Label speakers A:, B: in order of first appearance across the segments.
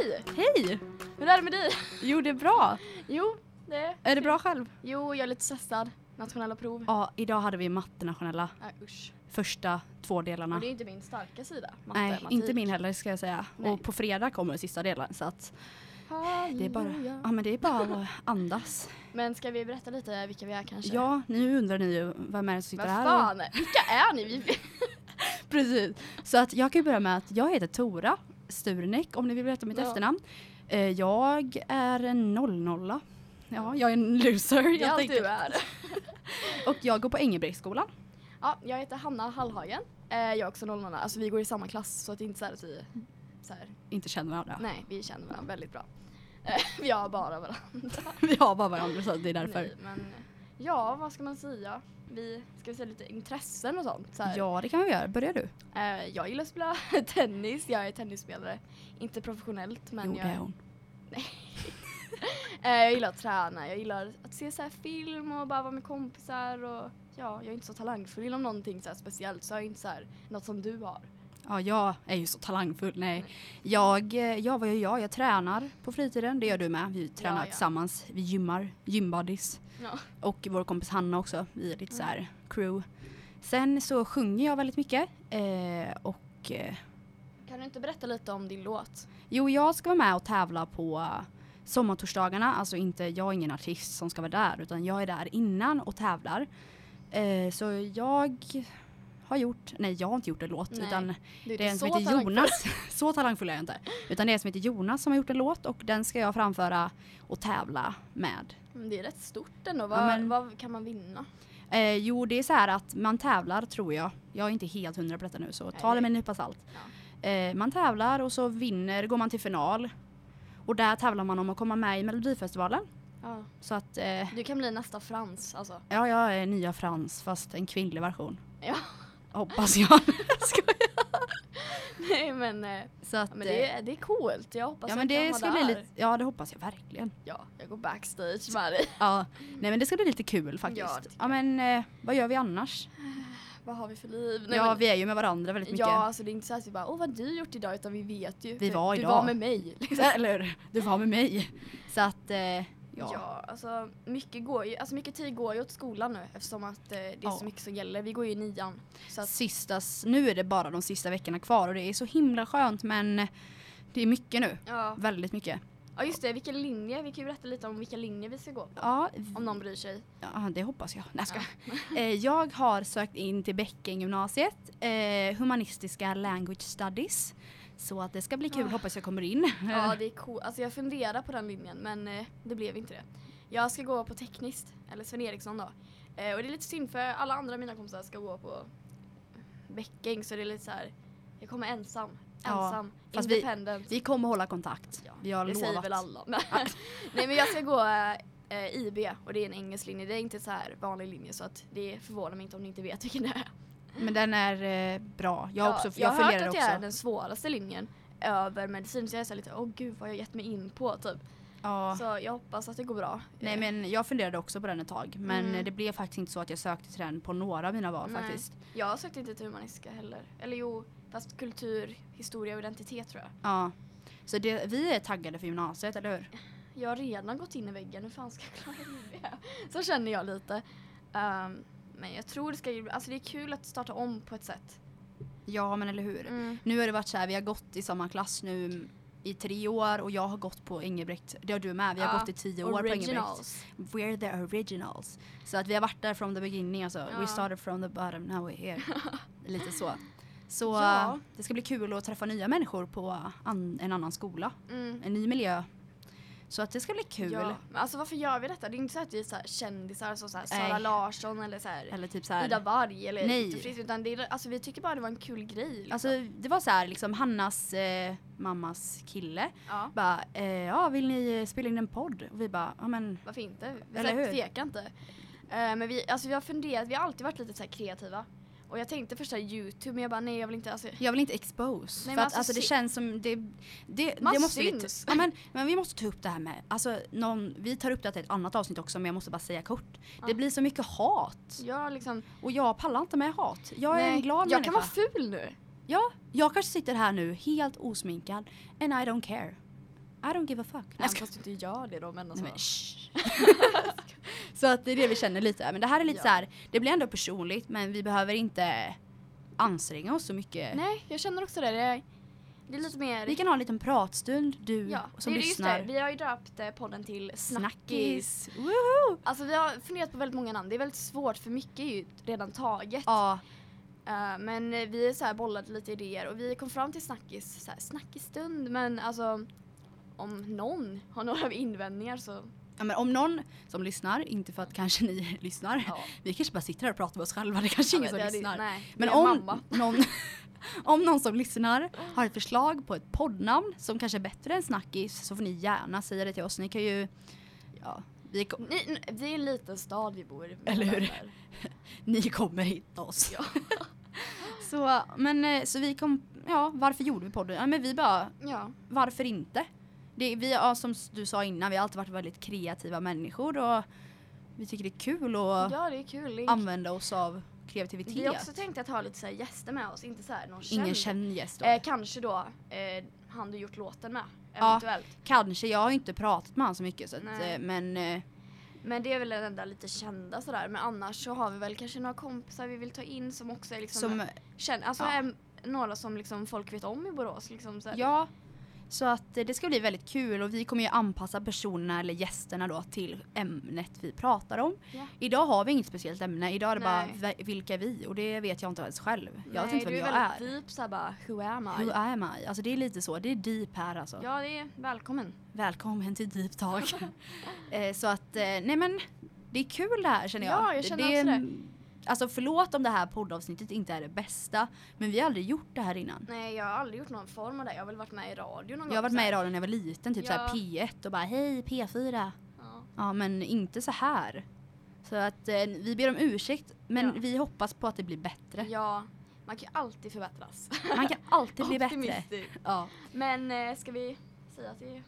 A: Hej!
B: Hur är det med dig?
A: Jo, det är bra.
B: Jo, det
A: Är det bra själv?
B: Jo, jag är lite stressad. Nationella prov.
A: Ja, idag hade vi matte nationella.
B: Nej, usch.
A: Första två delarna.
B: Och det är ju inte min starka sida.
A: Nej,
B: matematik.
A: inte min heller ska jag säga.
B: Nej.
A: Och på fredag kommer sista delen så att det är bara,
B: Halleluja.
A: ja, men det är bara att andas.
B: Men ska vi berätta lite vilka vi är kanske?
A: Ja, nu undrar ni ju vem är det som sitter
B: Vad
A: här.
B: fan, vilka är ni? Vi-
A: Precis. Så att jag kan ju börja med att jag heter Tora Sturnek om ni vill veta mitt
B: Ja.
A: efternamn. Eh, Jag är en 00. Ja, jag är en loser
B: Det är
A: helt
B: allt du
A: enkelt.
B: är.
A: Och jag går på Engelbrektsskolan.
B: Ja, jag heter Hanna Hallhagen. Eh, Jag är också 00. Alltså vi går i samma klass så att det är inte så här att vi så här,
A: Inte känner varandra.
B: Nej, vi känner varandra väldigt bra. Eh, Vi har bara varandra.
A: Vi har bara varandra så det är därför.
B: Nej, men ja, vad ska man säga? Vi ska vi säga lite intressen och sånt. Så här.
A: Ja, det kan vi göra. Börjar du?
B: Eh, jag gillar att spela tennis. Jag är tennisspelare. Inte professionellt, men
A: jo, det
B: jag,
A: är hon.
B: eh, jag gillar att träna. Jag gillar att se så här film och bara vara med kompisar. Och, ja, jag är inte så talangfull inom någonting så här speciellt, så jag är inte så här, något som du har.
A: Ja, jag är ju så talangfull. Nej.
B: Mm.
A: Jag, eh, ja, vad gör jag? Jag tränar på fritiden. Det gör du med. Vi tränar
B: Ja, ja.
A: tillsammans. Vi gymmar. Gymbuddies.
B: Ja.
A: Och vår kompis Hanna också. Vi är lite så
B: Mm.
A: här crew. Sen så sjunger jag väldigt mycket. Eh, och eh,
B: Kan du inte berätta lite om din låt?
A: jo, jag ska vara med och tävla på sommartorsdagarna. Alltså inte, jag är ingen artist som ska vara där utan jag är där innan och tävlar. Eh, så jag har gjort, nej jag har inte gjort en låt
B: Nej.
A: utan
B: Du är
A: Det är en
B: inte
A: som
B: så
A: heter
B: talangfull.
A: Jonas. Så talangfull är jag inte. Utan det är en som heter Jonas som har gjort en låt och den ska jag framföra och tävla med.
B: Men Det är rätt stort ändå. Vad,
A: men-
B: vad kan man vinna?
A: Eh, jo, det är så här att man tävlar tror jag. Jag är inte helt hundra på detta nu så ta
B: Nej.
A: det med en nypa salt. Eh, man tävlar och så vinner, går man till final. Och där tävlar man om att komma med i Melodifestivalen.
B: Ja.
A: Så att, eh,
B: Du kan bli nästa Frans, alltså.
A: ja jag är nya Frans fast en kvinnlig version.
B: Ja.
A: Hoppas jag. Skojar.
B: Nej, men... eh,
A: så att,
B: Ja, men det,
A: eh,
B: är- det är coolt. Jag hoppas
A: ja
B: jag
A: men
B: kan
A: det
B: vara
A: ska bli
B: där.
A: lite, ja det hoppas jag verkligen.
B: Ja, jag går backstage med dig.
A: Ja, nej men det ska bli lite kul faktiskt.
B: Ja,
A: Ja,
B: det tycker
A: men eh, vad gör vi annars?
B: Vad har vi för liv?
A: ja,
B: men,
A: vi är ju med varandra väldigt mycket.
B: ja, alltså det är inte så att vi bara, åh vad har du gjort idag, utan vi vet ju.
A: Vi
B: för
A: var
B: Du var
A: idag.
B: med mig. liksom.
A: Eller hur? Du var med mig. Så att, eh, ja.
B: Ja. alltså mycket, går ju, alltså mycket tid går ju åt skolan nu eftersom att eh, det är
A: Ja.
B: så mycket som gäller. Vi går ju i nian. Så att,
A: Sista, nu är det bara de sista veckorna kvar och det är så himla skönt men det är mycket nu.
B: ja.
A: Väldigt mycket.
B: ja, just det, vilken linje. Vi kan ju berätta lite om vilka linjer vi ska gå på.
A: Ja,
B: Om någon bryr sig.
A: ja det hoppas jag. Nej, jag ja. eh, Jag har sökt in till Bäckengymnasiet, eh, humanistiska language studies. Så att det ska bli kul,
B: Ah.
A: hoppas jag kommer in.
B: Ja, det är coolt. Alltså jag funderar på den linjen men eh, det blev inte det. Jag ska gå på tekniskt, eller Sven Eriksson då. Eh, och det är lite synd för alla andra mina kompisar ska gå på Bäcking så det är lite så här. jag kommer ensam.
A: Ja,
B: Ensam.
A: fast vi-
B: independent.
A: Vi kommer hålla kontakt.
B: Ja,
A: Vi har
B: det säger
A: lovat.
B: väl alla. Men Nej men jag ska gå eh, IB och det är en engelsk linje. Det är inte så här vanlig linje så att det förvånar mig inte om ni inte vet vilken det är.
A: Men den är eh, bra. Jag, har också,
B: jag
A: jag
B: har hört
A: funderar
B: att
A: också.
B: det är den svåraste linjen över medicin så jag är så här lite åh gud vad har jag gett mig in på typ.
A: Ja.
B: Så jag hoppas att det går bra.
A: Nej
B: Eh,
A: men jag funderade också på den ett tag. Men
B: Mm.
A: eh, det blev faktiskt inte så att jag sökte till den på några av mina val
B: Nej.
A: faktiskt.
B: Eh, Jag sökte inte till humanistiska heller. Eller jo, fast kultur, historia och identitet tror jag.
A: Ja. Så det, vi är taggade för gymnasiet, eller hur?
B: Jag har redan gått in i väggen, hur fan ska jag klara av det? Så känner jag lite. Ehm, men jag tror det ska ju- alltså det är kul att starta om på ett sätt.
A: Ja men eller hur.
B: Mm.
A: Nu har det varit så här, vi har gått i samma klass nu i tre år och jag har gått på Ingebrigt, det har du med, vi har
B: Ja,
A: gått i tio år på Ingebrigt.
B: Originals.
A: We're the originals. Så att vi har varit där from the beginning alltså.
B: Ja.
A: We started from the bottom, now we're here. Lite så. Så
B: Ja.
A: det ska bli kul att träffa nya människor på an, en annan skola.
B: Mm.
A: en ny miljö. Så att det ska bli kul.
B: Ja. Men alltså varför gör vi detta? Det är inte så att vi är så här kändisar som så här
A: Nej.
B: Sara Larsson eller så här
A: Eller typ så
B: Ida
A: här.
B: Warg eller
A: Nej.
B: Viktor Frisk, utan det är, alltså vi tycker bara det var en kul grej. Liksom.
A: Alltså det var så här liksom Hannas eh, mammas kille
B: ja.
A: bara eh, ja vill ni eh, spela in en podd? Och vi bara ja men
B: Varför inte? Vi
A: Eller hur?
B: tvekar inte. Eh, men vi, alltså, vi har funderat, vi har alltid varit lite så här kreativa. Och jag tänkte först så här Youtube men jag bara nej jag vill inte. Alltså,
A: jag vill inte expose.
B: Nej,
A: för
B: men
A: att
B: alltså,
A: alltså det
B: sy-
A: känns som det, det,
B: Man
A: det måste vi ta-
B: syns.
A: ja, men, men vi måste ta upp det här med, alltså någon, vi tar upp det här till ett annat avsnitt också men jag måste bara säga kort.
B: Ja.
A: Det blir så mycket hat
B: jag liksom,
A: och jag pallar inte med hat. Jag är
B: nej,
A: en glad
B: Jag kan
A: människa.
B: vara ful nu.
A: ja, jag kanske sitter här nu helt osminkad and I don't care. I don't give a fuck. Nej,
B: Även fast du inte gör det då men
A: Nej,
B: alltså.
A: men, shh. så att det är det vi känner lite. Men det här är lite
B: Ja.
A: så här, det blir ändå personligt men vi behöver inte anstränga oss så mycket.
B: Nej, jag känner också det. Det är, det är lite mer...
A: Vi kan ha en liten pratstund, du
B: ja,
A: som
B: det är just
A: lyssnar.
B: det. Vi har ju döpt eh, podden till Snackis.
A: Snackis! Woohoo!
B: Alltså vi har funderat på väldigt många namn. Det är väldigt svårt för mycket är ju redan taget.
A: Ja,
B: Eh, men eh, vi så här bollade lite idéer och vi kom fram till snackis, så här, snackisstund. Men alltså om någon har några invändningar så
A: ja, men om någon som lyssnar, inte för att kanske ni lyssnar,
B: ja.
A: vi kanske bara sitter här och pratar med oss själva, det kanske
B: Ja,
A: ingen
B: men
A: som
B: det hade-
A: lyssnar.
B: Nej,
A: Men
B: det är
A: om
B: mamma.
A: någon, om någon som lyssnar har ett förslag på ett poddnamn som kanske är bättre än Snackis så får ni gärna säga det till oss. Ni kan ju, ja, vi, kom,
B: Ni, n- det är en liten stad vi bor i.
A: Eller hur?
B: Där.
A: ni kommer hitta oss.
B: Ja.
A: så, men, eh, så vi kom, ja varför gjorde vi podden? Ja, men vi bara,
B: Ja.
A: varför inte? Det, vi har som du sa innan, vi har alltid varit väldigt kreativa människor och vi tycker det är kul att
B: ja, det är kul. Det är
A: använda oss av kreativitet.
B: Vi har också tänkt att ha lite så här gäster med oss, inte så här någon
A: Ingen
B: känd.
A: känd gäst då.
B: Eh, kanske då eh, han du gjort låten med,
A: Ja.
B: eventuellt.
A: Kanske, jag har ju inte pratat med han så mycket så att,
B: Nej.
A: eh, men eh,
B: Men det är väl den enda lite kända sådär. Men annars så har vi väl kanske några kompisar vi vill ta in som också är liksom
A: som,
B: kända. Alltså
A: ja.
B: är några som liksom folk vet om i Borås. Liksom, så här.
A: ja. Så att eh, det ska bli väldigt kul och vi kommer ju anpassa personerna eller gästerna då till ämnet vi pratar om.
B: Ja.
A: Idag har vi inget speciellt ämne, idag är det
B: Nej.
A: bara vi- vilka är vi och det vet jag inte ens själv. jag vet
B: Nej,
A: inte vem
B: du
A: jag
B: är väldigt
A: är.
B: deep såhär bara, who am I?
A: Who am I? Alltså det är lite så, det är deep här alltså.
B: Ja, det är välkommen.
A: Välkommen till Deep Talk. eh, så att, eh, nej men det är kul det här känner jag.
B: Ja, jag känner
A: det,
B: också
A: Alltså förlåt om det här poddavsnittet inte är det bästa, men vi har aldrig gjort det här innan.
B: Nej, jag har aldrig gjort någon form av det. Jag har väl varit med i radio någon gång.
A: Jag har varit
B: så
A: med i
B: här.
A: radion när jag var liten, typ
B: Ja.
A: såhär P1 och bara hej P4.
B: Ja.
A: Ja men inte så här. Så att eh, vi ber om ursäkt men
B: Ja.
A: vi hoppas på att det blir bättre.
B: ja, man kan ju alltid förbättras.
A: Man kan alltid bli bättre.
B: Optimistisk.
A: Ja.
B: Men eh, ska vi säga att det,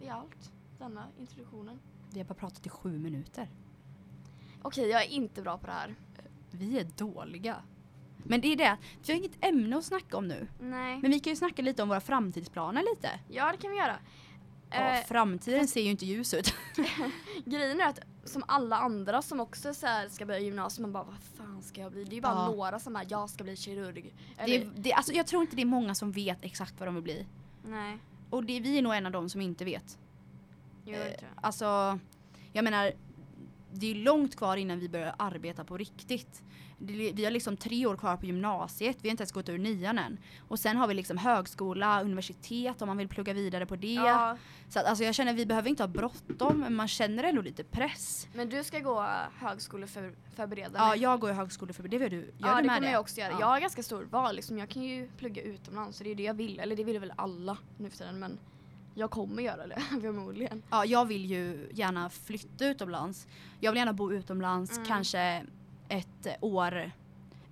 B: det är allt? Denna introduktionen.
A: Vi har bara pratat i sju minuter.
B: Okej, jag är inte bra på det här.
A: Vi är dåliga. Men det är det att vi har inget ämne att snacka om nu.
B: Nej.
A: Men vi kan ju snacka lite om våra framtidsplaner lite.
B: Ja, det kan vi göra.
A: ja,
B: Eh,
A: framtiden ser ju inte ljus ut.
B: grejen är att som alla andra som också så här ska börja gymnasiet, man bara vad fan ska jag bli? Det är ju bara
A: Ja.
B: några som bara jag ska bli kirurg.
A: Det,
B: Eller,
A: är- det, alltså, jag tror inte det är många som vet exakt vad de vill bli.
B: Nej,
A: Och det, vi är nog en av dem som inte vet.
B: jo, det tror jag.
A: Alltså, jag menar, det är långt kvar innan vi börjar arbeta på riktigt. Det- Vi har liksom tre år kvar på gymnasiet, vi har inte ens gått ur nian än. Och sen har vi liksom högskola, universitet om man vill plugga vidare på det.
B: Ja,
A: Så att, alltså, jag känner vi behöver inte ha bråttom, men man känner ändå lite press.
B: men du ska gå högskoleförberedande.
A: Ja, jag går ju högskoleförberedande, det gör du. Gör
B: ja,
A: du
B: det
A: med
B: kommer
A: det?
B: jag också göra.
A: Ja.
B: Jag har ganska stor val liksom. Jag kan ju plugga utomlands så det är det jag vill. Eller det vill väl alla nu för tiden men jag kommer göra det förmodligen.
A: Ja, jag vill ju gärna flytta utomlands. Jag vill gärna bo utomlands
B: Mm.
A: kanske ett år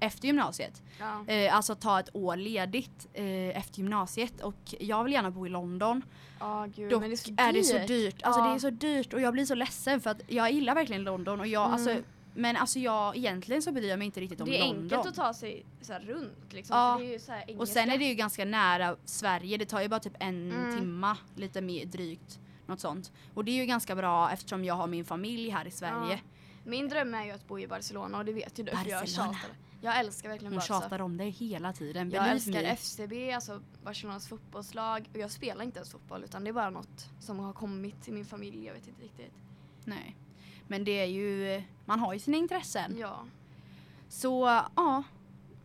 A: efter gymnasiet.
B: Ja.
A: Eh, alltså ta ett år ledigt eh, efter gymnasiet och jag vill gärna bo i London.
B: Ja, gud,
A: Dock
B: men det är så dyrt.
A: är det så dyrt. Alltså
B: Ja.
A: det är så dyrt och jag blir så ledsen för att jag gillar verkligen London och jag
B: Mm.
A: alltså men alltså jag egentligen så bryr jag mig inte riktigt om
B: Det är
A: London.
B: enkelt att ta sig så här runt liksom.
A: Ja.
B: För det är ju så här
A: och sen
B: engelska.
A: är det ju ganska nära Sverige, det tar ju bara typ en
B: Mm.
A: timma lite mer drygt. Något sånt. Och det är ju ganska bra eftersom jag har min familj här i Sverige.
B: Min dröm är ju att bo i Barcelona och det vet ju du för jag
A: Barcelona.
B: tjatar. Jag älskar verkligen
A: Hon
B: Barca.
A: tjatar om det hela tiden.
B: Jag
A: Believe
B: älskar
A: me.
B: FCB, alltså Barcelonas fotbollslag. Och jag spelar inte ens fotboll utan det är bara något som har kommit till min familj. Jag vet inte riktigt.
A: Nej. Men det är ju, man har ju sina intressen.
B: Ja,
A: Så ja,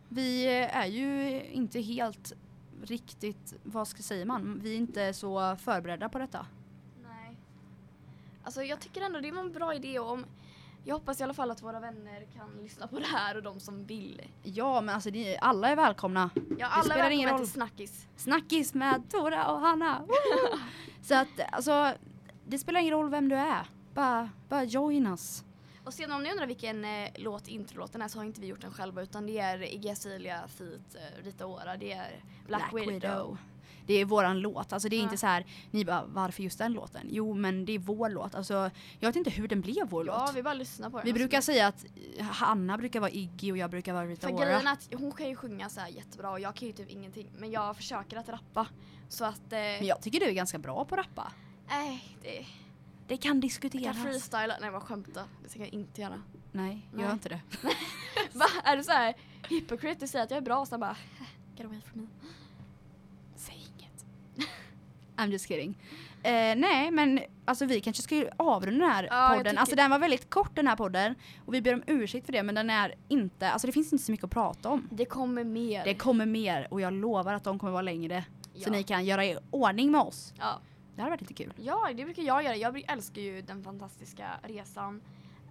A: vi är ju inte helt riktigt, vad ska säga man, vi är inte så förberedda på detta.
B: nej. Alltså jag tycker ändå det var en bra idé om jag hoppas i alla fall att våra vänner kan lyssna på det här och de som vill.
A: Ja men alltså ni, alla är välkomna.
B: Ja, alla
A: spelar
B: är
A: ingen
B: välkomna
A: roll.
B: till Snackis.
A: Snackis med Tora och Hanna. Woo! så att alltså, det spelar ingen roll vem du är. Bara, bara join us.
B: Och sen om ni undrar vilken eh, låt introlåten är så har inte vi gjort den själva utan det är Iggy Azalea feat eh, Rita Ora, det är Black, Widow.
A: Det är våran låt. Alltså det är
B: Ja.
A: inte så här, ni bara varför just den låten? Jo men det är vår låt. Alltså, jag vet inte hur den blev vår
B: Ja,
A: låt.
B: vi alltså- bara lyssnar på den.
A: Vi
B: och så-
A: brukar säga att eh, Hanna brukar vara Iggy och jag brukar vara Rita
B: För
A: Ora.
B: grejen är att hon kan ju sjunga så här jättebra och jag kan ju typ ingenting. Men jag försöker att rappa. Så att... Eh,
A: Men jag tycker du är ganska bra på att rappa.
B: Nej, det
A: Det kan
B: jag kan
A: diskuteras.
B: freestyla. Nej, vad skämta. Det ska jag inte göra.
A: Nej, gör
B: Nej.
A: inte det.
B: Va? Är du så här hypocrite? Du säger att jag är bra och sen bara... Get away from me.
A: Säg inget. I'm just kidding. Eh, nej, men alltså, vi kanske ska ju avrunda den här
B: Ja, jag
A: podden.
B: tycker-
A: Alltså den var väldigt kort den här podden. Och vi ber om ursäkt för det men den är inte, alltså det finns inte så mycket att prata om.
B: Det kommer mer.
A: Det kommer mer och jag lovar att de kommer vara längre.
B: ja.
A: Så ni kan göra i ordning med oss.
B: ja.
A: Det här har varit lite kul.
B: ja, det brukar jag göra. Jag bru- älskar ju den fantastiska resan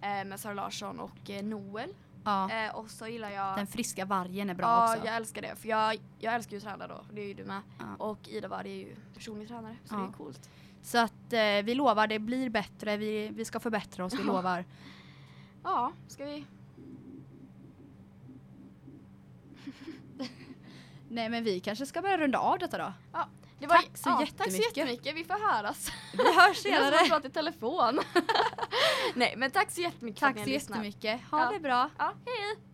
B: eh, med Sara Larsson och eh, Noel.
A: Ja.
B: Eh, och så gillar jag...
A: Den friska vargen är bra
B: ja,
A: också.
B: jag älskar det. För jag, jag älskar ju att träna då. Det är ju du med.
A: Ja.
B: Och Ida Warg är ju personlig tränare. Så
A: Ja.
B: det är coolt.
A: Så att eh, vi lovar, det blir bättre. Vi, vi ska förbättra oss, vi
B: Ja.
A: lovar.
B: Ja, ska vi...
A: Nej men vi kanske ska börja runda av detta då.
B: Det
A: Tack så
B: Tack så
A: jättemycket.
B: jättemycket. Vi får höras.
A: Vi hörs
B: Det är nästan som att
A: senare.
B: prata i telefon. Nej, men tack så jättemycket för
A: Tack
B: att
A: så
B: ni lyssnade.
A: jättemycket. Ha
B: Ja.
A: det bra.
B: Ja, hej!